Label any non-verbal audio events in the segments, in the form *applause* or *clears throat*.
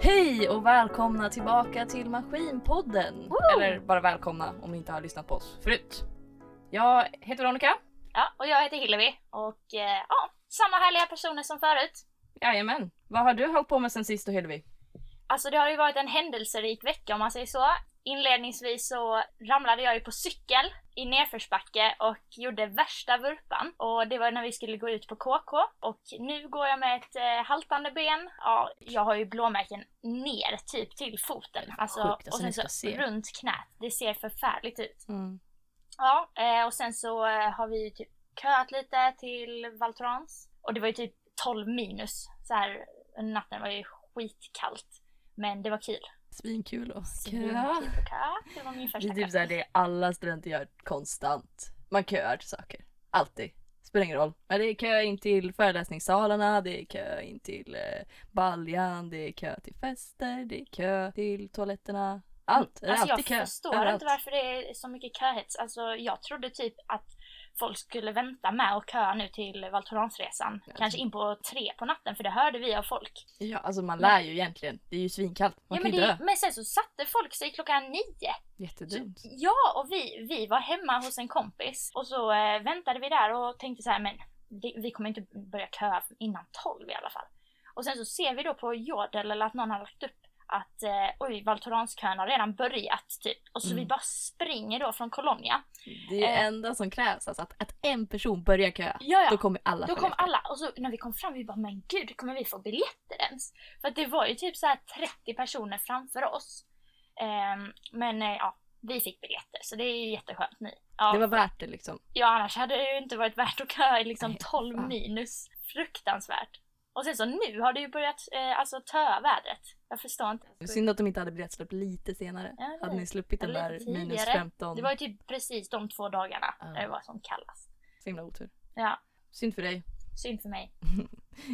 Hej och välkomna tillbaka till Maskinpodden! Eller bara välkomna om ni inte har lyssnat på oss förut. Jag heter Veronica. Ja, och jag heter Hillevi och eh, ja, samma härliga personer som förut. Jajamän. Vad har du hållit på med sen sist då Hillevi? Alltså det har ju varit en händelserik vecka om man säger så. Inledningsvis så ramlade jag ju på cykel i nedförsbacke och gjorde värsta vurpan. Och det var när vi skulle gå ut på KK och nu går jag med ett eh, haltande ben. Ja, jag har ju blåmärken ner typ till foten. Alltså, sjukt, alltså, ni och ska sen så se. runt knät. Det ser förfärligt ut. Ja, eh, och sen så eh, har vi ju typ köat lite till Valtorans. Och det var ju typ 12 minus så här under natten. var ju skitkallt. Men det var kul. Svinkul och Så det var köa. kul att köa. Det var min Det första är typ kö. såhär det alla studenter gör konstant. Man köar till saker. Alltid. Spelar ingen roll. Men det är kö in till föreläsningssalarna, det är kö in till eh, baljan, det är kö till fester, det är kö till toaletterna. Allt! Det är Alltså jag alltid kö. förstår överallt. inte varför det är så mycket köhets. Alltså jag trodde typ att folk skulle vänta med och köa nu till Valtoransresan. Ja. typ. Kanske in på tre på natten för det hörde vi av folk. Ja, alltså man lär ju egentligen. Det är ju svinkallt. Man ja, kan men, ju dö. det, men sen så satte folk sig klockan nio. Jättedumt. Ja, och vi, vi var hemma hos en kompis och så eh, väntade vi där och tänkte så här, men det, vi kommer inte börja köa innan 12 i alla fall. Och sen så ser vi då på Jodel eller att någon har lagt upp att eh, oj, Valtoranskön har redan börjat typ. Och så Mm. vi bara springer då från Colonia. Det är det Eh. enda som krävs. Alltså att, att en person börjar köa. Ja, ja. Då kommer alla Då följa kom efter. alla och så när vi kom fram vi bara men gud kommer vi få biljetter ens? För att det var ju typ så här 30 personer framför oss. Ehm, men eh, ja, vi fick biljetter så det är ju jätteskönt nu. Ja. Det var värt det liksom. Ja annars hade det ju inte varit värt att köa i liksom Nej, 12 fan. minus. Fruktansvärt. Och sen så nu har det ju börjat eh, alltså töa vädret. Jag förstår inte. Synd att de inte hade biljettsläpp lite senare. Ja, det- hade ni sluppit den lite där minus tidigare. 15. Det var ju typ precis de två dagarna Ja. när det var som kallast. Så himla otur. Ja, Synd för dig. synd för mig.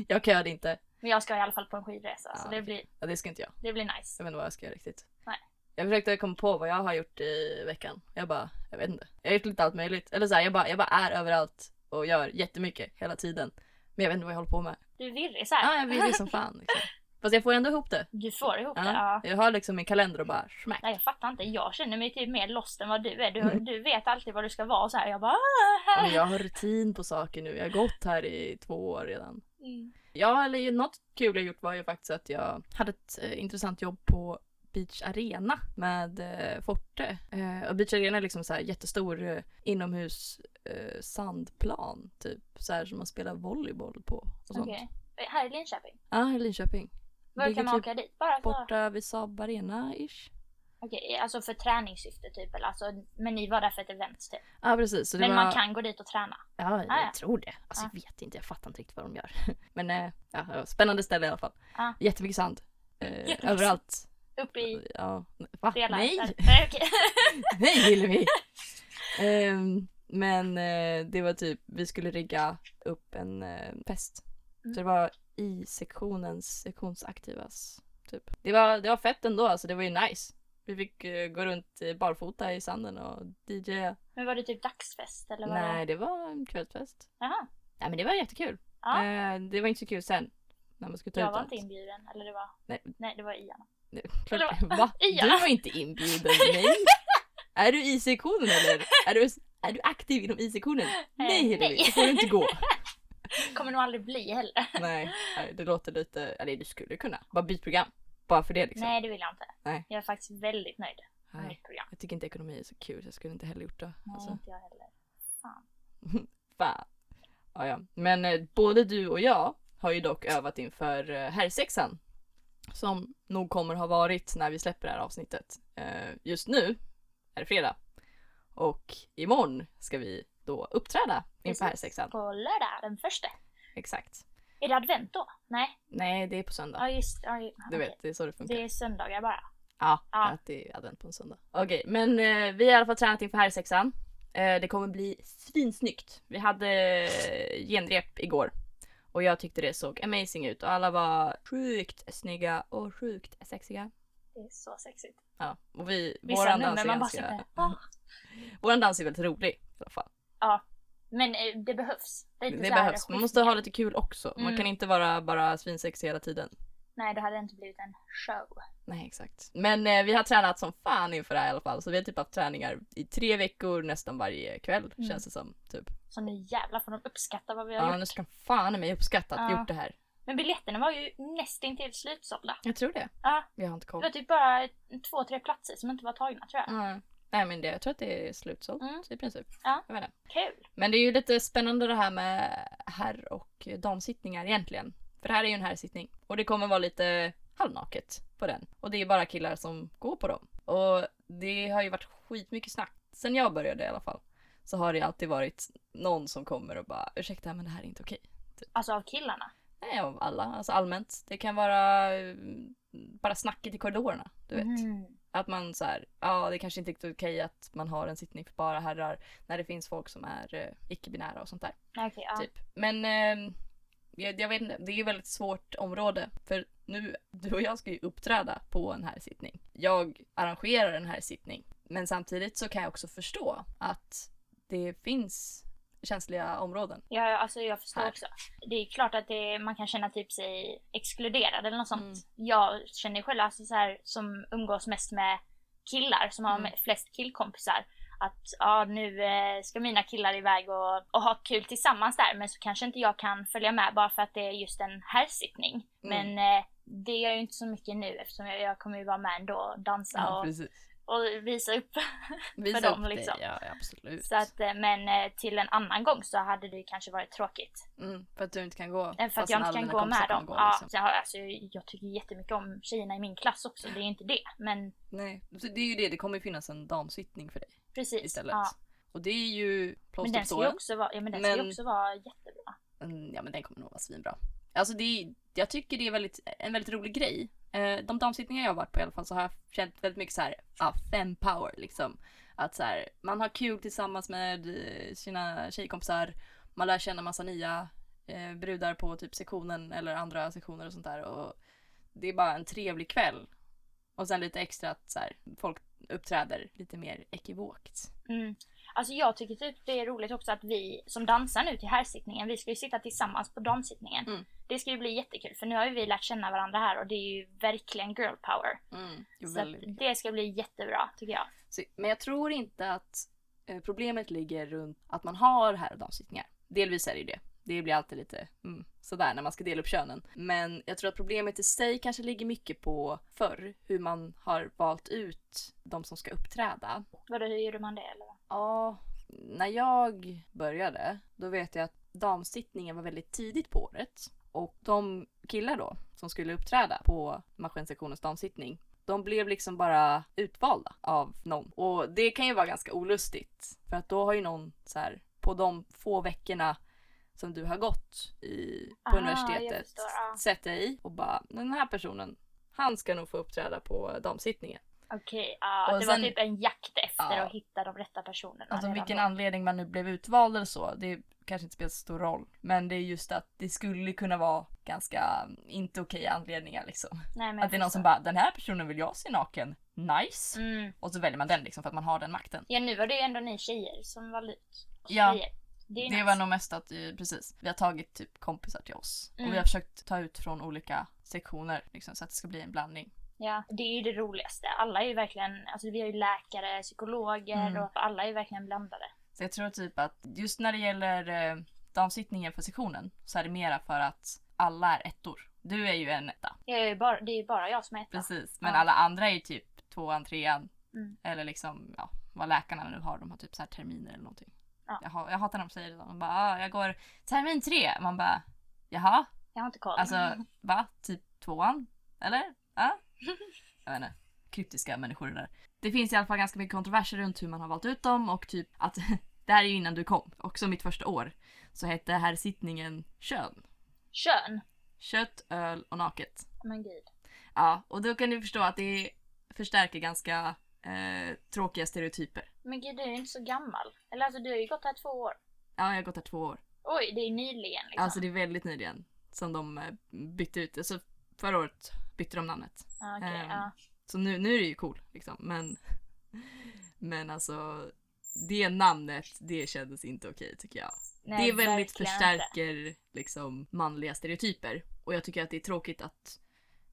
Jag köade inte. Men jag ska i alla fall på en skidresa Ja, så okej. det blir, Ja, det ska inte jag. det blir nice. Jag vet inte vad jag ska göra riktigt. Nej. Jag försökte komma på vad jag har gjort i veckan. Jag bara, jag vet inte. Jag har gjort lite allt möjligt. Eller så här, jag, bara, jag bara är överallt och gör jättemycket hela tiden. Men jag vet inte vad jag håller på med. Du är virrig *laughs* såhär. Ja, jag vill det som fan. Liksom. Fast jag får ändå ihop det. Du får ihop det. Ja. Ja. Jag har liksom min kalender och bara smack. Nej jag fattar inte, jag känner mig typ mer lost än vad du är. Du, du vet alltid var du ska vara och så här. jag bara "Ah, Mm. Ja, här. Men jag har rutin på saker nu. Jag har gått här i två år redan. Mm. Ja, eller ju något kul jag gjort var ju faktiskt att jag hade ett eh, intressant jobb på Beach Arena med eh, Forte. Eh, och Beach Arena är liksom så här jättestor eh, inomhus eh, sandplan typ. Så här som man spelar volleyboll på och sånt. Okej. Eh, Här i Linköping. Ja, i Linköping. Var Ligger kan man typ åka dit? Bara för... borta vid Saab Arena-ish. Okej, alltså för träningssyfte typ eller alltså, men ni var där för ett event typ. Ja, precis. Så det Men var... man kan gå dit och träna. Ja, jag Ah, ja. tror det. Alltså Ah. jag vet inte, jag fattar inte riktigt vad de gör. *laughs* Men eh, ja, ja, spännande ställe i alla fall. Ah. Jättemycket sand. Eh, Jättemycket överallt. Upp i Ja. Va? delar. Nej! *laughs* Där. Nej, okej. Nej *laughs* Hillevi! Ehm, men eh, det var typ, vi skulle rigga upp en eh, fest. Mm. Så det var i sektionens sektionsaktivas. Typ. Det, var, det var fett ändå, alltså det var ju nice. Vi fick eh, gå runt eh, barfota i sanden och DJ. Men var det typ dagsfest eller var det? Nej, det var en kvällsfest. Jaha. Nej men det var jättekul. Ja. Eh, det var inte så kul sen. När man skulle ta Jag ut var allt. inte inbjuden. Eller det var? Nej. Nej, det var Ian. Nej, Eller Klart, va? *laughs* Ja. Du var inte *laughs* inbjuden. Nej. är du i sektionen eller? Är du, är du aktiv inom i sektionen? Nej Hillevi, Eh, nej. då får du inte *laughs* gå. Kommer nog aldrig bli heller. nej, nej, det låter lite, eller du skulle kunna. Bara byt program. Bara för det liksom. Nej, det vill jag inte. Nej. Jag är faktiskt väldigt nöjd med Nej. mitt program. Jag tycker inte ekonomi är så kul så jag skulle inte heller gjort det. Nej, Alltså, inte jag heller. fan. Ja, ja. Men eh, både du och jag har ju dock övat inför eh, herrsexan. Som nog kommer ha varit när vi släpper det här avsnittet. Eh, just nu är det fredag. Och imorgon ska vi då uppträda inför Precis. herrsexan. På lördag den första. Exakt. Är det advent då? Nej? Nej, det är på söndag. Ja, just ja, ju- Du okej. vet, det är så det funkar. Det är söndagar bara. Ja, Ja. att det är advent på en söndag. Okej, men eh, vi har i alla fall tränat inför herrsexan. Eh, det kommer bli svinsnyggt. Vi hade eh, genrep igår och jag tyckte det såg amazing ut och alla var sjukt snygga och sjukt sexiga. Det är så sexigt. Ja, och vi, Vissa våran dans, nummer är man bara ganska, sitter ah. våran dans är väldigt rolig i alla fall. Men eh, det behövs. Lite Det så här behövs. Man måste skiftningar. ha lite kul också. Man Mm. kan inte vara bara svinsexig hela tiden. Nej, då hade det inte blivit en show. Nej exakt. Men eh, vi har tränat som fan inför det här i alla fall så vi har typ haft träningar i tre veckor nästan varje kväll Mm. känns det som. Typ. Så nu jävlar får de uppskatta vad vi har Ja gjort. nu ska fan i mig uppskatta att Ja. gjort det här. Men biljetterna var ju nästintill slutsålda. Jag tror det. Ja. Vi har inte koll. Det var typ bara två, tre platser som inte var tagna tror jag. Ja. Nej men det, jag tror att det är slutsålt Mm. i princip. Ja. Jag vet inte. Kul! Men det är ju lite spännande det här med herr och damsittningar egentligen. För det här är ju en herrsittning. Och det kommer vara lite halvnaket på den. Och det är bara killar som går på dem. Och det har ju varit skitmycket snack. Sen jag började i alla fall. Så har det alltid varit någon som kommer och bara ursäkta men det här är inte okej. Alltså av killarna. Nej av alla, alltså allmänt. Det kan vara eh, bara snacket i korridorerna. Du vet. Mm. Att man så här, ja det kanske inte är riktigt okej att man har en sittning för bara herrar. När det finns folk som är eh, icke-binära och sånt där. Nej, Okej, ja. Typ. Men eh, jag, jag vet inte, det är ett väldigt svårt område. För nu, du och jag ska ju uppträda på en här sittning. Jag arrangerar en här sittning. Men samtidigt så kan jag också förstå att det finns känsliga områden. Ja, ja, alltså jag förstår Här. också. Det är klart att det, man kan känna typ sig exkluderad eller något sånt. Mm. Jag känner själv, alltså så här, som umgås mest med killar, som har Mm. me- flest killkompisar, att ja, nu eh, ska mina killar iväg och, och ha kul tillsammans där, men så kanske inte jag kan följa med bara för att det är just en herrsittning. Mm. Men eh, det gör jag ju inte så mycket nu eftersom jag, jag kommer ju vara med ändå och dansa och, precis. och visa upp. *laughs* Visa dem, upp dig, liksom. Ja, ja, absolut. så att, eh, men eh, till en annan gång så hade det ju kanske varit tråkigt. mm, för att du inte kan gå. Nej, Eh, För att jag inte kan gå med dem. ja, liksom. så jag, har- alltså, jag tycker jättemycket om tjejerna i min klass också, det är ju inte det. Men Nej, så det är ju det. Det kommer ju finnas en damsittning för dig precis. istället. Ja. Och det är ju Men plåster den på ska ju såren. också vara, ja, men den ska ju Men- också vara jättebra. Mm, ja men den kommer nog vara svinbra. Alltså det är, jag tycker det är väldigt, en väldigt rolig grej. Eh, de damsittningar jag har varit på i alla fall så har jag känt väldigt mycket så här, ah, fem power liksom. Att så här, man har kul tillsammans med eh, sina tjejkompisar, man lär känna massa nya eh, brudar på typ sektionen eller andra sektioner och sånt där. Och det är bara en trevlig kväll. Och sen lite extra att så här, folk uppträder lite mer ekivokt. Mm. Alltså jag tycker typ det är roligt också att vi som dansar nu till herrsittningen, vi ska ju sitta tillsammans på damsittningen. Mm. Det ska ju bli jättekul för nu har ju vi lärt känna varandra här och det är ju verkligen girl power. Mm, Så att det ska bli jättebra tycker jag. Så, men jag tror inte att eh, problemet ligger runt att man har herr och damsittningar. Delvis är det ju det. Det blir alltid lite mm, sådär när man ska dela upp könen. Men jag tror att problemet i sig kanske ligger mycket på förr, hur man har valt ut de som ska uppträda. Vadå, hur gjorde man det eller? vad? Ja, när jag började, då vet jag att damsittningen var väldigt tidigt på året. Och de killar då, som skulle uppträda på maskinsektionens damsittning, de blev liksom bara utvalda av någon. Och det kan ju vara ganska olustigt. För att då har ju någon så här, på de få veckorna som du har gått i, på Aha, jag universitetet förstår, ja. sett dig och bara den här personen, han ska nog få uppträda på damsittningen. Okej, ja, Och det sen- var typ en jakt efter Ja. att hitta de rätta personerna. Alltså redan vilken då. anledning man nu blev utvald eller så, det kanske inte spelar så stor roll. Men det är just att det skulle kunna vara ganska mm, inte okej anledningar liksom. Nej, men jag Att det är någon som förstår. bara, den här personen vill jag se naken, nice! Mm. Och så väljer man den liksom för att man har den makten. Ja nu var det ju ändå ni tjejer som valde ut oss Ja, tjejer. Det, är ju Det nice. var nog mest att, eh, precis, vi har tagit typ kompisar till oss. Mm. Och vi har försökt ta ut från olika sektioner liksom, så att det ska bli en blandning. ja, det är ju det roligaste. Alla är ju verkligen, alltså vi har ju läkare, psykologer Mm. och alla är ju verkligen blandade. Så jag tror typ att just när det gäller eh, damsittningen för sektionen så är det mera för att alla är ettor. Du är ju en etta. Jag är ju bara, det är ju bara jag som är etta. Precis, men Ja. alla andra är ju typ tvåan, trean. Mm. Eller liksom, ja, vad läkarna nu har. De har typ så här terminer eller någonting. Ja. Jag, har, jag hatar när de säger det. De bara, ah, jag går termin tre. Man bara, jaha? Jag har inte koll. Alltså, *laughs* va? Typ tvåan? Eller? Ja? *laughs* Jag vet inte. Kryptiska människor det där. Det finns i alla fall ganska mycket kontroverser runt hur man har valt ut dem och typ att *laughs* det här är ju innan du kom. Också mitt första år så hette här sittningen kön. Kön. Kött, öl och naket. Men gud. Ja, och då kan du förstå att det förstärker ganska eh, tråkiga stereotyper. Men gud du är ju inte så gammal. Eller alltså du har ju gått här två år. Ja, jag har gått här två år. Oj, det är ju nyligen liksom. Alltså det är väldigt nyligen som de eh, bytte ut, alltså förra året bytte de namnet. ja, okej, ehm, ja. Så nu, nu är det ju cool liksom, men, *laughs* men alltså det namnet, det kändes inte okej tycker jag. Nej, det är väldigt verkligen förstärker liksom manliga stereotyper och jag tycker att det är tråkigt att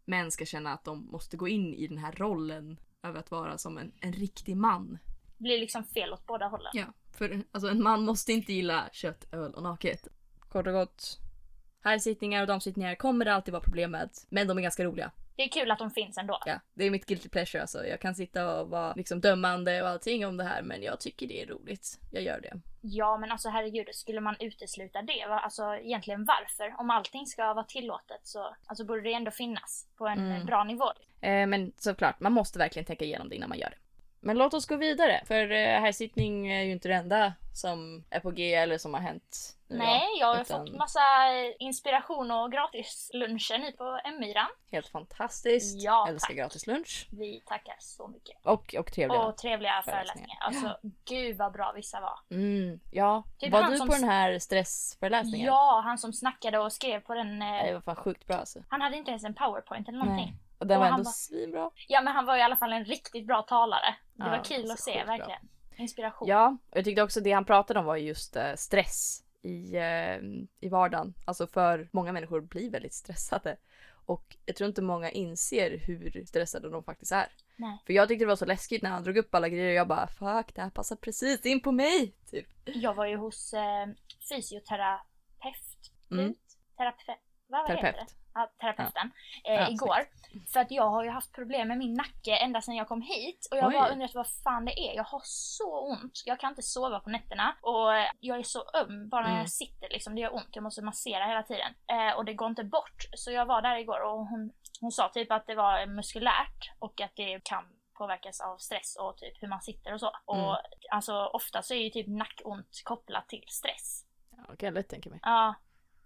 män ska känna att de måste gå in i den här rollen över att vara som en, en riktig man. Blir liksom fel åt båda hållen. Ja, för alltså, en man måste inte gilla kött, öl och naket. Kort och gott. Herrsittningar och damsittningar kommer det alltid vara problem med, men de är ganska roliga. Det är kul att de finns ändå. Ja, det är mitt guilty pleasure alltså. Jag kan sitta och vara liksom dömande och allting om det här men jag tycker det är roligt. Jag gör det. Ja men alltså herregud, skulle man utesluta det? Va? Alltså egentligen varför? Om allting ska vara tillåtet så alltså, borde det ändå finnas på en Mm. eh, bra nivå. Eh, men såklart, man måste verkligen tänka igenom det innan man gör det. Men låt oss gå vidare, för eh, herrsittning är ju inte det enda som är på G eller som har hänt. nu då. Nej, jag har utan- fått massa eh, inspiration och gratisluncher nu på M-myran. Helt fantastiskt. Ja, Älskar tack. gratis lunch. Vi tackar så mycket. Och, och trevliga. Och trevliga föreläsningar. föreläsningar. Alltså gud vad bra vissa var. Mm, ja. Typ var han du som på s- den här stressföreläsningen? Ja, han som snackade och skrev på den. eh, Nej, Det var fan sjukt bra alltså. Han hade inte ens en powerpoint eller någonting. Nej. Och den Och var han ändå bara- svinbra. Ja men han var i alla fall en riktigt bra talare. Det Ja, var kul alltså, att se sjukt bra. verkligen. Inspiration. Ja, och jag tyckte också det han pratade om var just eh, stress i, eh, i vardagen. Alltså för många människor blir väldigt stressade. Och jag tror inte många inser hur stressade de faktiskt är. Nej. För jag tyckte det var så läskigt när han drog upp alla grejer och jag bara fuck det här passar precis in på mig. Typ. Jag var ju hos eh, fysioterapeut. Mm. Terape- vad heter det? Terapeut. ja, terapeuten eh, Ja, igår. För att jag har ju haft problem med min nacke ända sedan jag kom hit. Och jag Oj. bara undrat vad fan det är. Jag har så ont. Jag kan inte sova på nätterna. Och eh, jag är så öm bara när Mm. jag sitter liksom. Det gör ont. Jag måste massera hela tiden. Eh, och det går inte bort. Så jag var där igår och hon, hon sa typ att det var muskulärt och att det kan påverkas av stress och typ hur man sitter och så. Och Mm. alltså ofta så är ju typ nackont kopplat till stress. Ja, kan jag lätt tänka mig. Ja,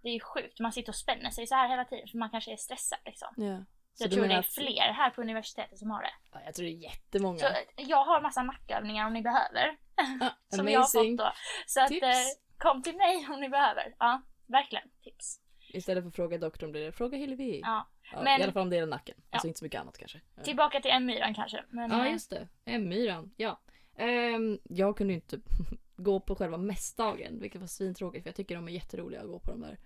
det är ju sjukt. Man sitter och spänner sig så här hela tiden för man kanske är stressad liksom. Ja. Så jag du tror menar det är att- fler här på universitetet som har det. Ja, jag tror det är jättemånga. Så eh, jag har massa nackövningar om ni behöver. Ja, Som jag har amazing. fått då. Så att, Tips. eh, kom till mig om ni behöver. Ja, verkligen. Tips. Istället för att fråga doktorn blir det fråga Hillevi. Ja. Ja, men- I alla fall om det är nacken. Alltså inte så mycket annat kanske. Ja. Tillbaka till M-myran kanske. Men, Ja eh, just det, M-myran. Ja. Ehm, jag kunde ju inte *laughs* gå på själva mässdagen vilket var svintråkigt för jag tycker de är jätteroliga att gå på de där.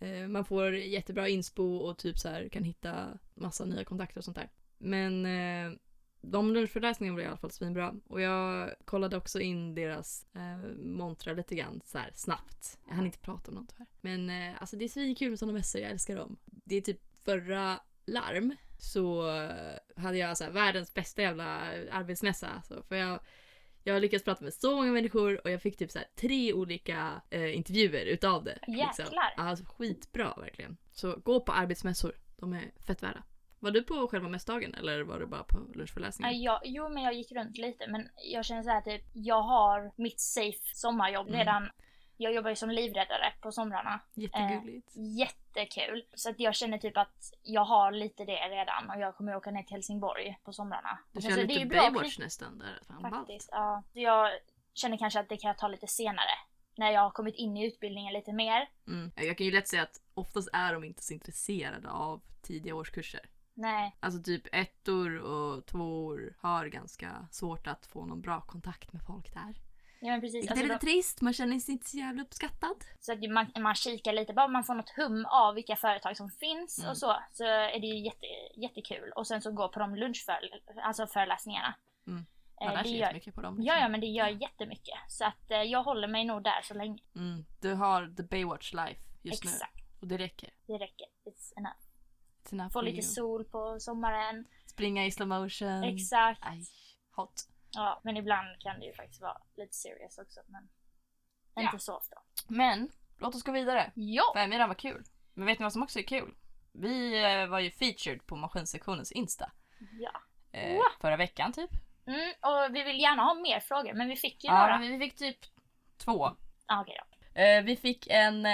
Ehm, man får jättebra inspo och typ så här kan hitta massa nya kontakter och sånt där. Men eh, de lunchföreläsningarna blev i alla fall svinbra och jag kollade också in deras eh, montrar lite grann så här snabbt. Jag hann inte prata om dem tyvärr. Men eh, alltså det är svinkul med sådana mässor, jag älskar dem. Det är typ förra larm så eh, hade jag så här, världens bästa jävla arbetsmässa. Alltså, för jag, jag lyckades prata med så många människor och jag fick typ så här, tre olika eh, intervjuer utav det. Jäklar. Alltså, skitbra verkligen. Så gå på arbetsmässor, de är fett värda. Var du på själva mässdagen eller var du bara på lunchföreläsningen? Nej, Jag, jo men jag gick runt lite men jag känner så här typ, jag har mitt safe sommarjobb Mm. redan. Jag jobbar ju som livräddare på somrarna. Jättegulligt. eh, Jättekul! Så att jag känner typ att jag har lite det redan och jag kommer att åka ner till Helsingborg på somrarna. du Och kör så- lite ju alltså, bra att Baywatch nästan där. Fan, knyta- ballt. Faktiskt, ja. Så Jag känner kanske att det kan jag ta lite senare. När jag har kommit in i utbildningen lite mer. Mm. Jag kan ju lätt säga att oftast är de inte så intresserade av tidiga årskurser. Nej, Alltså typ ettor och tvåor har ganska svårt att få någon bra kontakt med folk där. ja men precis. Vilket Alltså, är då, lite trist, man känner sig inte så jävla uppskattad. så att man, man kikar lite, bara man får något hum av vilka företag som finns Mm. och så. Så är det ju jätte, jättekul. Och sen så gå på de lunchföreläsningarna. Alltså föreläsningarna. Mm. Eh, Man lär det sig gör, jättemycket på dem. ja, ja men det gör jättemycket. Så att eh, jag håller mig nog där så länge. Mm. Du har the Baywatch life just Exakt. nu. Och det räcker. Det räcker. It's enough. It's enough Få for lite you. sol på sommaren. Springa i slow motion. Exakt. Mm. Aj, hot. Ja, men ibland kan det ju faktiskt vara lite serious också. Men Ja. inte så ofta. Men, låt oss gå vidare. Ja! Femyran var kul. Men vet ni vad som också är kul? Vi eh, var ju featured på Maskinsektionens Insta. ja. Eh, Va? förra veckan typ. Mm, och vi vill gärna ha mer frågor, men vi fick ju Ja, några. vi fick typ två Ah, okej då. Eh, vi fick en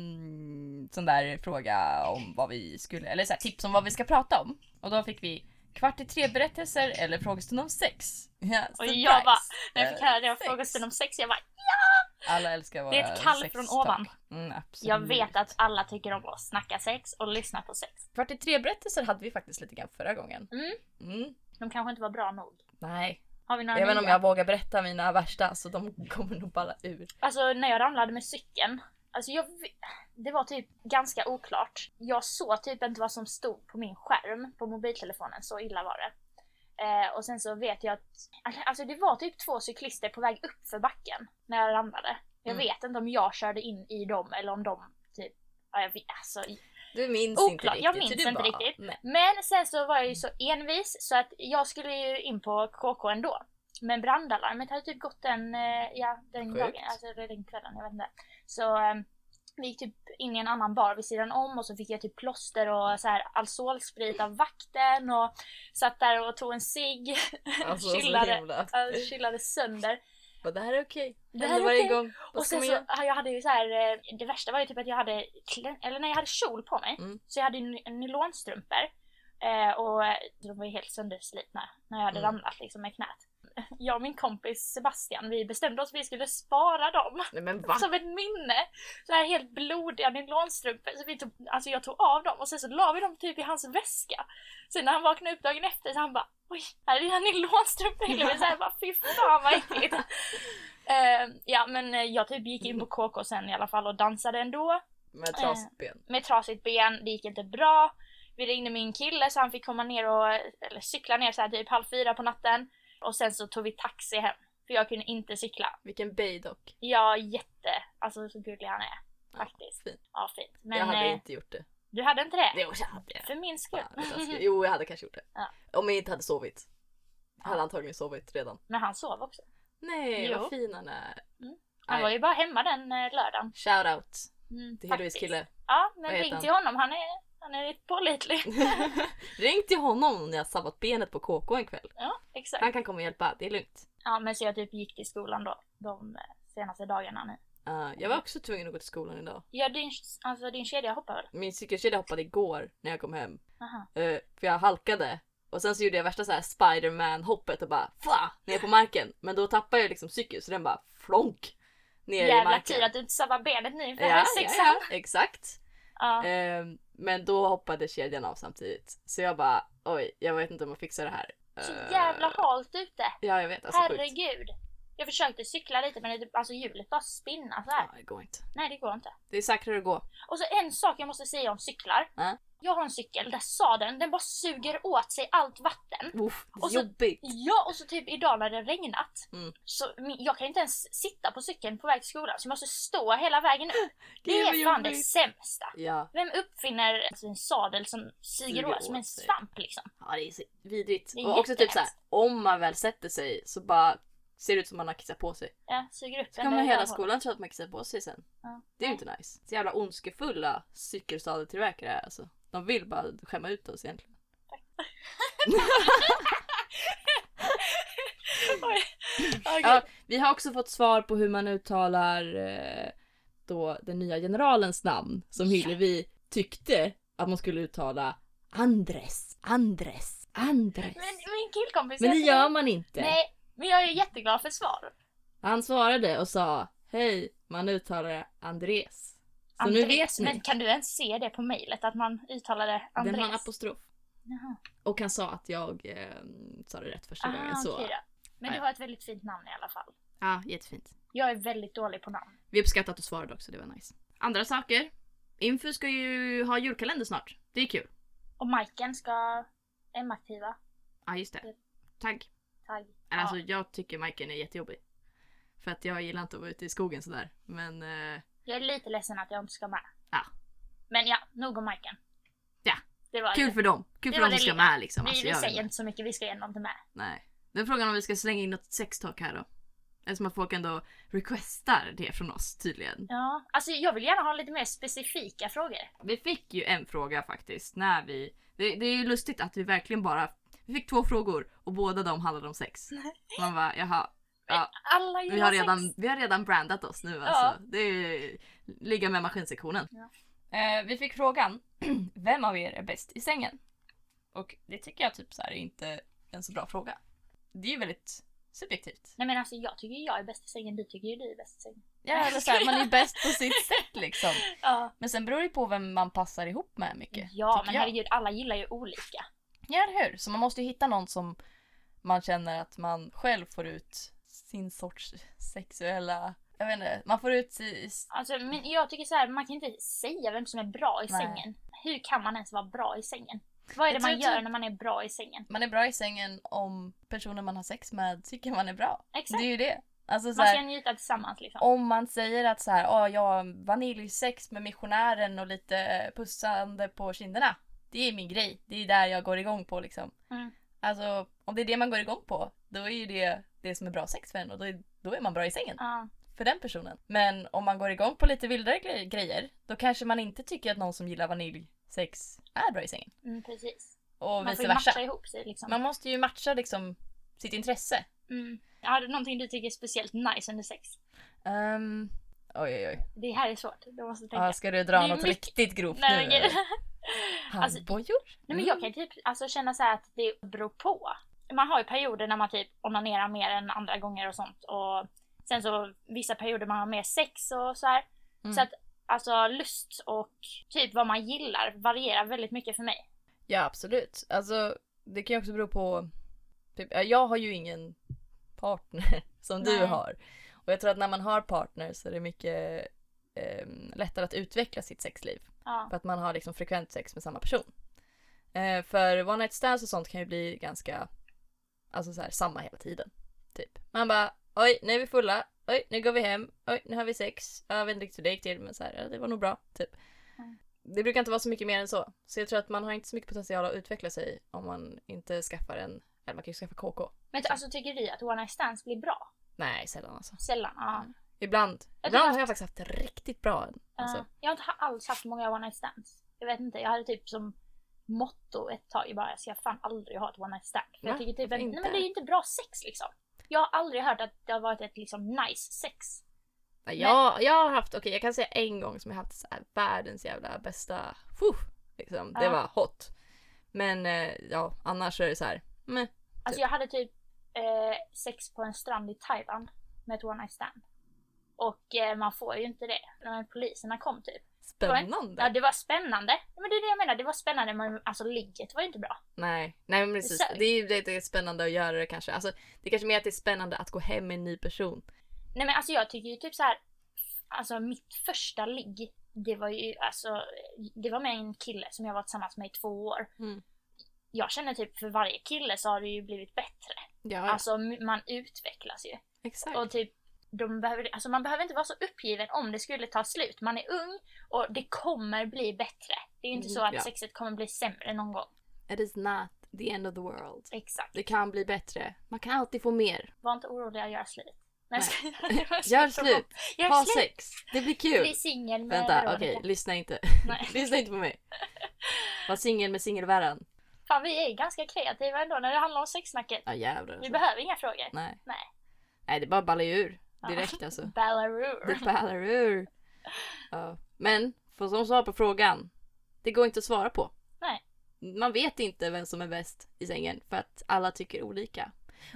ehm, sån där fråga om vad vi skulle, eller så här, tips om vad vi ska prata om. Och då fick vi kvart i tre berättelser eller frågestund om sex. *laughs* Ja, Och surprise. jag bara, När jag fick Eh, höra det av sex. Mm. frågestund om sex, jag bara Alla älskar våra Det är ett kall sextalk. från ovan. Mm, absolut. Jag vet att alla tycker om att snacka sex och lyssna på sex. Kvart i tre berättelser hade vi faktiskt lite grann förra gången. Mm. Mm, De kanske inte var bra nog. Nej, Har vi några även om nya? jag vågar berätta mina värsta så de *laughs* kommer nog balla ur. Alltså när jag ramlade med cykeln Alltså jag, v- det var typ ganska oklart. Jag såg typ inte vad som stod på min skärm på mobiltelefonen, så illa var det. Eh, och sen så vet jag att, alltså det var typ två cyklister på väg upp för backen när jag ramlade. Jag Mm. vet inte om jag körde in i dem eller om de typ, ja, jag vet, alltså Du minns inte Oklart, riktigt. jag så minns du inte bara, riktigt. *laughs* Nej. Men sen så var jag ju så envis så att jag skulle ju in på KK ändå. Men brandalarmet hade typ gått den, eh, ja, den Sjukt. dagen, alltså eller den kvällen, jag vet inte. Så eh, vi gick typ in i en annan bar vid sidan om och så fick jag typ plåster och så här alzolsprit av vakten och satt där och tog en cigg, *laughs* Alltså så Chillade. himla. alltså, chillade sönder. Bara, det här är okej. Det Det här är här varje okej. gång. Vad Och ska sen man så, göra? ja, jag hade ju så här, eh, det värsta var ju typ att jag hade, klä- eller nej jag hade kjol på mig. Mm. Så jag hade ju ny- nylonstrumpor. Eh, och eh, de var ju helt sönderslitna när jag hade Mm. ramlat liksom med knät. Jag och min kompis Sebastian, vi bestämde oss att vi skulle spara dem. Nej men va? Som ett minne! Så här helt blodiga nylonstrumpor. Så vi tog, alltså jag tog av dem och sen så la vi dem typ i hans väska. Sen när han vaknade upp dagen efter så han bara Oj, här är dina nylonstrumpor Hilary! Så jag bara fy fan vad äckligt! Eh, ja men eh, jag typ gick in på KK sen i alla fall och dansade ändå. Med trasigt ben. Med trasigt ben, det gick inte bra. Vi ringde min kille så han fick komma ner och eller, cykla ner så här typ halv fyra på natten. Och sen så tog vi taxi hem. För jag kunde inte cykla. Vilken böj dock. Ja, jätte. Alltså så gullig han är. Ja, Faktiskt. fint. Ja, fint. Men jag hade eh, inte gjort det. du hade inte det? Jo, jag hade det. För min skull. Fan, vad taskigt. *laughs* Jo, jag hade kanske gjort det. Ja. Om jag inte hade sovit. Jag hade antagligen sovit redan. Men han sov också. Nej, Jo. Mm. vad fin han är. Han Nej. var ju bara hemma den eh, lördagen. Shoutout Mm, till Hillaries faktiskt. kille. Ja, men Vad heter ring han? till honom. Han är, han är *laughs* rätt pålitlig. Ring till honom om ni har sabbat benet på KK en kväll. ja, exakt. Han kan komma och hjälpa, det är lugnt. Ja, men så jag typ gick till skolan då. De eh, senaste dagarna nu. Eh, jag var också tvungen att gå till skolan idag. Ja, din, alltså din kedja hoppar väl? Min cykelkedja hoppade igår när jag kom hem. Aha. Eh, för jag halkade. Och sen så gjorde jag värsta så här Spiderman hoppet och bara fla ner på marken. Men då tappade jag liksom cykeln så den bara flonk ner i Jävla marken. tur att du inte sabbar benet nu inför ja, ja, sexan. ja, exakt. Ja. Ehm, men då hoppade kedjan av samtidigt. Så jag bara oj, jag vet inte om jag fixar det här. Så Eh, jävla halt ute. Ja jag vet, alltså sjukt. Herregud. Jag försökte cykla lite men det, alltså hjulet bara spinna så här. Ja, det går inte. Nej det går inte. Det är säkrare att gå. Och så en sak jag måste säga om cyklar. Ja. Jag har en cykel där sadeln den bara suger åt sig allt vatten. Uff, Och så- jobbigt. Ja och så typ idag när det har regnat. Mm. Så min, jag kan inte ens sitta på cykeln på väg till skolan så jag måste stå hela vägen upp. Det Gud, vad är fan det jobbigt. sämsta. Ja. Vem uppfinner alltså, en sadel som suger Suger åt som en åt sig. svamp liksom? ja, det är så vidrigt. Det är Och också typ såhär, jättehemskt. om man väl sätter sig så bara ser det ut som man har kissat på sig. Ja, suger upp Så en kommer där hela hålet. skolan tro att man kissar på sig sen. Ja. Det är ju inte nice. Så jävla ondskefulla cykelsadeltillverkare är alltså. De vill bara skämma ut oss egentligen. *laughs* *laughs* Oj. Åh, Ja, gud. vi har också fått svar på hur man uttalar eh, då den nya generalens namn som Ja. Hillevi tyckte att man skulle uttala Andres, Andres, Andres. Men min killkompis... Men det jag- gör man inte. Nej, men jag är jätteglad för svar. Han svarade och sa Hej, man uttalar det Andres. Så nu vet Andres. ni. Men kan du ens se det på mejlet att man uttalade Andres? Den har en apostrof. Jaha. Och han sa att jag eh, sa det rätt första gången. Ah, Så. okej då. Men du Nej. har ett väldigt fint namn i alla fall. Ja, jättefint. Jag är väldigt dålig på namn. Vi uppskattar att du svarade också, det var nice. Andra saker. Info ska ju ha julkalender snart. Det är kul. Och Majken ska... M-aktiva. Ja, just det. Tagg. Tagg. Eller, Alltså Ja. jag tycker Majken är jättejobbig. För att jag gillar inte att vara ute i skogen sådär. Men eh, Jag är lite ledsen att jag inte ska med. Ja. Men ja, nog om Majken. Ja. Det var kul det. för dem. Kul Det för var dem som det ska lilla. med liksom. Vi, Alltså, vi jag vet säger inte. inte så mycket, vi ska igenom det med. Nej. Den frågan om vi ska slänga in något sextalk här då. Eftersom att folk ändå requestar det från oss tydligen. Ja, alltså jag vill gärna ha lite mer specifika frågor. Vi fick ju en fråga faktiskt när vi... Det, det är ju lustigt att vi verkligen bara... Vi fick två frågor och båda de handlade om sex. Man bara, jaha. Ja, Alla gillar vi, har sex. redan, vi har redan brandat oss nu alltså. Det är ju, ligga med maskinsektionen. Ja. Eh, vi fick frågan, *clears throat* vem av er är bäst i sängen? Och det tycker jag typ så här är inte en så bra fråga. Det är ju väldigt subjektivt. Nej men alltså jag tycker ju jag är bäst i sängen, du tycker ju du är bäst i sängen. Ja, eller så här, man är bäst på sitt sätt liksom. Ja. Men sen beror det ju på vem man passar ihop med mycket. Ja tycker men jag. herregud, alla gillar ju olika. Ja, eller hur? Så man måste ju hitta någon som man känner att man själv får ut sin sorts sexuella Jag vet inte, man får ut... i- i- Alltså, men jag tycker så här, man kan inte säga vem som är bra i Nej. sängen. Hur kan man ens vara bra i sängen? Vad är det Jag man tror gör typ- när man är bra i sängen? Man är bra i sängen om personen man har sex med tycker man är bra. Exakt. Det är ju det. Alltså så Man ska här, njuta tillsammans liksom. om man säger att så här, "Ah, jag har vaniljsex med missionären och lite eh, pussande på kinderna. Det är min grej. Det är där jag går igång på liksom. Mm. Alltså om det är det man går igång på, då är ju det det som är bra sex för en och då är, då är man bra i sängen. Ja. för den personen. Men om man går igång på lite vildare gre- grejer, då kanske man inte tycker att någon som gillar vaniljsex är bra i sängen. Mm, precis. Och Man får vice ju versa. matcha ihop sig liksom. Man måste ju matcha liksom sitt intresse. Mm. Har du någonting du tycker är speciellt nice under sex? Um, oj oj oj. Det här är svårt, du måste tänka. Ah, ska du dra Det är något mycket- riktigt grovt Nej, nu? men, *laughs* eller? alltså, Handbojor? nej men jag kan ju typ alltså, känna så här att det beror på. Man har ju perioder när man typ onanerar mer än andra gånger och sånt. Och sen så vissa perioder man har mer sex och så här. Mm. Så att alltså lust och typ vad man gillar varierar väldigt mycket för mig. Ja absolut. Alltså det kan ju också bero på, typ, jag har ju ingen partner *laughs* som du Nej. har. Och jag tror att när man har partner så är det mycket ehm, lättare att utveckla sitt sexliv. Ja. För att man har liksom frekvent sex med samma person. Eh, för one night stands och sånt kan ju bli ganska, alltså så här, samma hela tiden. Typ. Man bara, oj nu är vi fulla, oj nu går vi hem, oj nu har vi sex, Ja, jag vet inte riktigt hur det gick till men så här, ja, det var nog bra. Typ. Mm. Det brukar inte vara så mycket mer än så. Så jag tror att man har inte så mycket potential att utveckla sig om man inte skaffar en, eller man kan ju skaffa KK. Men alltså tycker vi att one night stands blir bra? Nej sällan alltså. Sällan. Ja. Ibland, Jag ibland tror har jag faktiskt haft riktigt bra en. Alltså. Ja. Eh, Jag har inte ha- alls haft många one night stands. Jag vet inte, jag hade typ som motto ett tag bara, jag ska fan aldrig ha ett one night stand. För jag Va? tycker typ, Varför att- nej inte? men det är ju inte bra sex liksom. Jag har aldrig hört att det har varit ett liksom nice sex. Ja, Jag, jag har haft, okej jag kan säga en gång som jag haft så här, världens jävla bästa, fuh, liksom. det Ja. var hot. Men eh, ja, annars så är det så här, meh. Alltså jag hade typ eh, sex på en strand i Thailand med ett one night stand. Och eh, man får ju inte det. Men poliserna kom typ. spännande. Ja det var spännande. Men det är det jag menar, det var spännande men alltså ligget var ju inte bra. Nej, nej men precis. Sök. Det är ju det, det är spännande att göra det kanske. Alltså, det är kanske mer att det är spännande att gå hem med en ny person. Nej men alltså jag tycker ju typ så här. Alltså mitt första ligg. Det var ju alltså. Det var med en kille som jag var tillsammans med i två år. Mm. Jag känner typ för varje kille så har det ju blivit bättre. Ja, Alltså m- man utvecklas ju. exakt. Och typ. De behöver, alltså man behöver inte vara så uppgiven om det skulle ta slut. Man är ung och det kommer bli bättre. Det är ju inte Mm, så att ja. sexet kommer bli sämre någon gång. It is not the end of the world. Exakt. Det kan bli bättre. Man kan alltid få mer. Var inte oroliga, gör slut. Nej, Nej. jag ska- Gör slut. Gör Ha slut! sex. Det blir kul. Bli singel med Vänta, Veronica. okej, lyssna inte. Nej. *laughs* lyssna inte på *laughs* mig. Var singel med singelvärran. Fan vi är ganska kreativa ändå när det handlar om sexsnacket. Ja jävlar. Vi Alltså. behöver inga frågor. Nej. Nej. Nej, det bara ballar ju ur. Ja. Direkt *laughs* alltså. Ballarur. Det ballar ur. Ja. Men, för som svar på frågan. Det går inte att svara på. Nej. Man vet inte vem som är bäst i sängen för att alla tycker olika.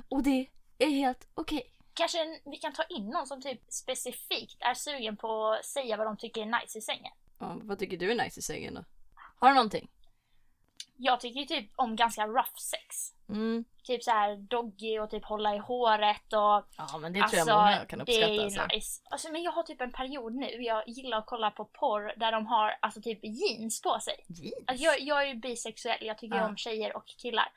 Och det är helt okej. Kanske en, vi kan ta in någon som typ specifikt är sugen på att säga vad de tycker är nice i sängen. Ja, vad tycker du är nice i sängen då? Har du någonting? Jag tycker ju typ om ganska rough sex. Mm. Typ så här doggy och typ hålla i håret och... Ja men det Alltså, det är ju nice. Alltså, men jag har typ en period nu, jag gillar att kolla på porr där de har alltså typ jeans på sig. Jeans. Alltså jag, jag är ju bisexuell, jag tycker ju Ja. om tjejer och killar.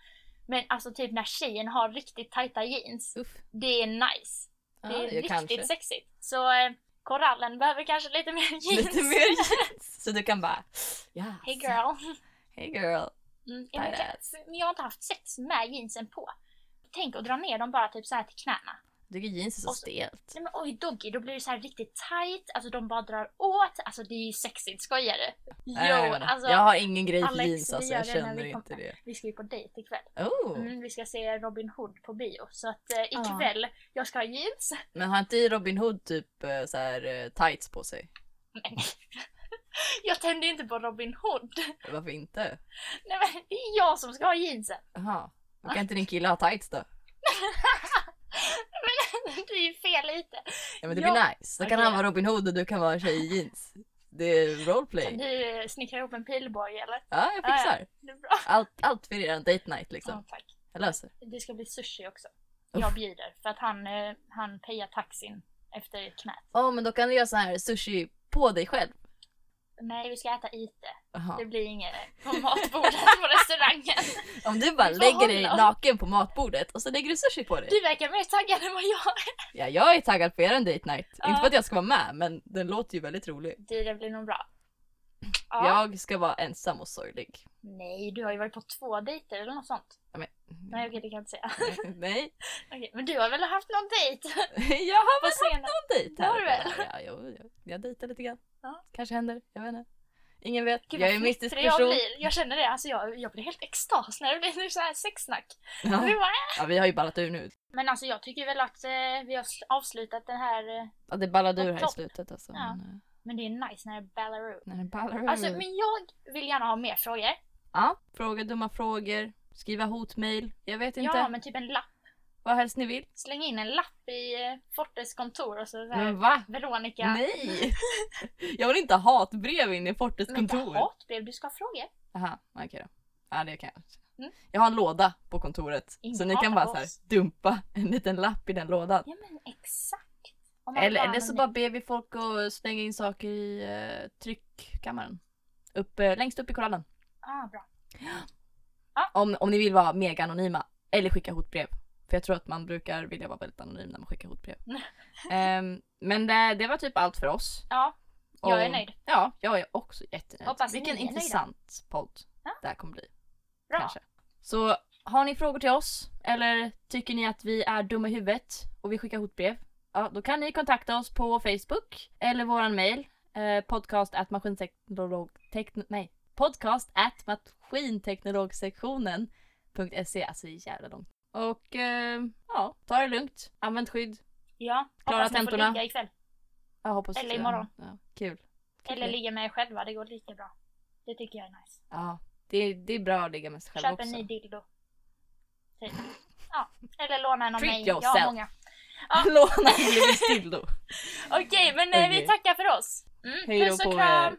Men alltså typ när tjejen har riktigt tajta jeans, Uff. det är nice. Ja, det är riktigt kanske. sexigt. Så eh, korallen behöver kanske lite mer jeans. *laughs* Lite mer jeans. Så du kan bara... Ja. Hey girl. Hey girl. Mm, ja, men, Tight kan- men jag har inte haft sex med jeansen på. Tänk att dra ner dem bara typ så här till knäna. Jag tycker jeans är så Och så- stelt. Nej men oj doggy, då blir det så här riktigt tight. Alltså de bara drar åt. Alltså det är ju sexigt, skojar du? Nej, jag Jo, menar, alltså Ehm, jag har ingen grej för Alex, jeans vi alltså, gör jag det när känner vi inte kommer. det. vi ska ju på dejt ikväll. Oh. Mm, vi ska se Robin Hood på bio. Så att eh, Ja. ikväll, jag ska ha jeans. *laughs* Men har inte Robin Hood typ eh, så här, eh, tights på sig? Men, *laughs* jag tänder ju inte på Robin Hood. Varför inte? Nej men det är jag som ska ha jeansen. Jaha. Då Kan inte din kille ha tights då? *laughs* Det är ju fel lite. Ja men det Ja, blir nice. Då kan okej. han vara Robin Hood och du kan vara en tjej i jeans. Det är Kan roleplay. du eh, snickra ihop en pilbåge eller? Ja jag Ja, fixar. Det är bra. Allt, allt för er date night Ja, liksom. tack. Jag löser. Det ska bli sushi också. Jag bjuder för att han, eh, han pejar taxin efter knät. Ja men då kan du göra sån här sushi på dig själv. Nej, vi ska äta ite. Jaha. Det blir inget på matbordet *laughs* på restaurangen. Om du bara Vi får lägger dig hålla oss. naken på matbordet och så lägger du sushi på dig. Du verkar mer taggad än vad jag är. Ja, jag är taggad på er en date night. Ja. Inte för att jag ska vara med men den låter ju väldigt rolig. Du, det blir nog bra. Jag ska vara ensam och sorglig. Nej, du har ju varit på två dejter eller något sånt. Ja, men- Nej, okej, det kan jag inte säga. *laughs* *laughs* Nej, Okej, men du har väl haft någon dejt? *laughs* *laughs* jag har På väl scenen. någon dejt Det har här. du och där. Ja, jo, jag, jag dejtar lite grann. Ja. Kanske händer, jag vet inte. Ingen vet, Gud, vad jag är en mystisk fnittrig jag person. blir. Jag känner det, alltså jag, jag blir helt extas när det blir nu så här sexsnack. Det Ja. var- ja, vi har ju ballat ur nu. Men alltså jag tycker väl att eh, vi har sl- avslutat den här, eh, Ja, det ballade ur På här i topp. slutet alltså. Ja. Men, eh, men det är nice när det ballar ur. när det ballar ur. Alltså men jag vill gärna ha mer frågor. ja. Fråga dumma frågor, skriva hotmail. Jag vet inte, Ja men typ en lapp. vad helst ni vill. Släng in en lapp i eh, Fortes kontor och så, så här, Men va? Veronica. Mm. Nej! *laughs* jag vill inte ha hatbrev in i Fortes Men inte kontor. hatbrev, du ska ha frågor. Jaha, okej då. Ja det kan jag. Mm. Jag har en låda på kontoret. Ingen så ni kan hatar bara så här, oss. dumpa *laughs* en liten lapp i den lådan. Ja men exakt. Om man Eller, eller men så nej. bara ber vi folk att slänga in saker i eh, tryckkammaren. Upp, eh, längst upp i kolonnen. Ah, bra. Om, om ni vill vara mega anonyma. Eller skicka hotbrev. För jag tror att man brukar vilja vara väldigt anonym när man skickar *laughs* hotbrev. Ehm, men det, det var typ allt för oss. Ja, jag är nöjd. Ja, jag är också jättenöjd. Hoppas ni Vilken är nöjda. intressant podd Ja. det här kommer bli. Bra. Kanske. Så har ni frågor till oss eller tycker ni att vi är dumma i huvudet och vi skickar hotbrev? Ja, då kan ni kontakta oss på Facebook eller våran mail eh, podcast at maskinteknolog... Tekn, nej, podcast at maskinteknologsektionen.se Alltså det är jävla långt. Och eh, ja, ta det lugnt. Använd skydd. Ja, Klara hoppas ni får tentorna. ligga ikväll. Jag hoppas Eller imorgon. Ja, kul. Eller ligga med er själva, det går lika bra. Det tycker jag är nice. Ja, det, det är bra att ligga med sig själv Köp också. en ny dildo. Typ. Ja, eller låna en av Treat mig. Jag yourself. har många. Ja. *laughs* Låna en Lewis dildo. *laughs* Okej, men eh, vi Okej. tackar för oss. Mm, Hej då puss på och er. kram!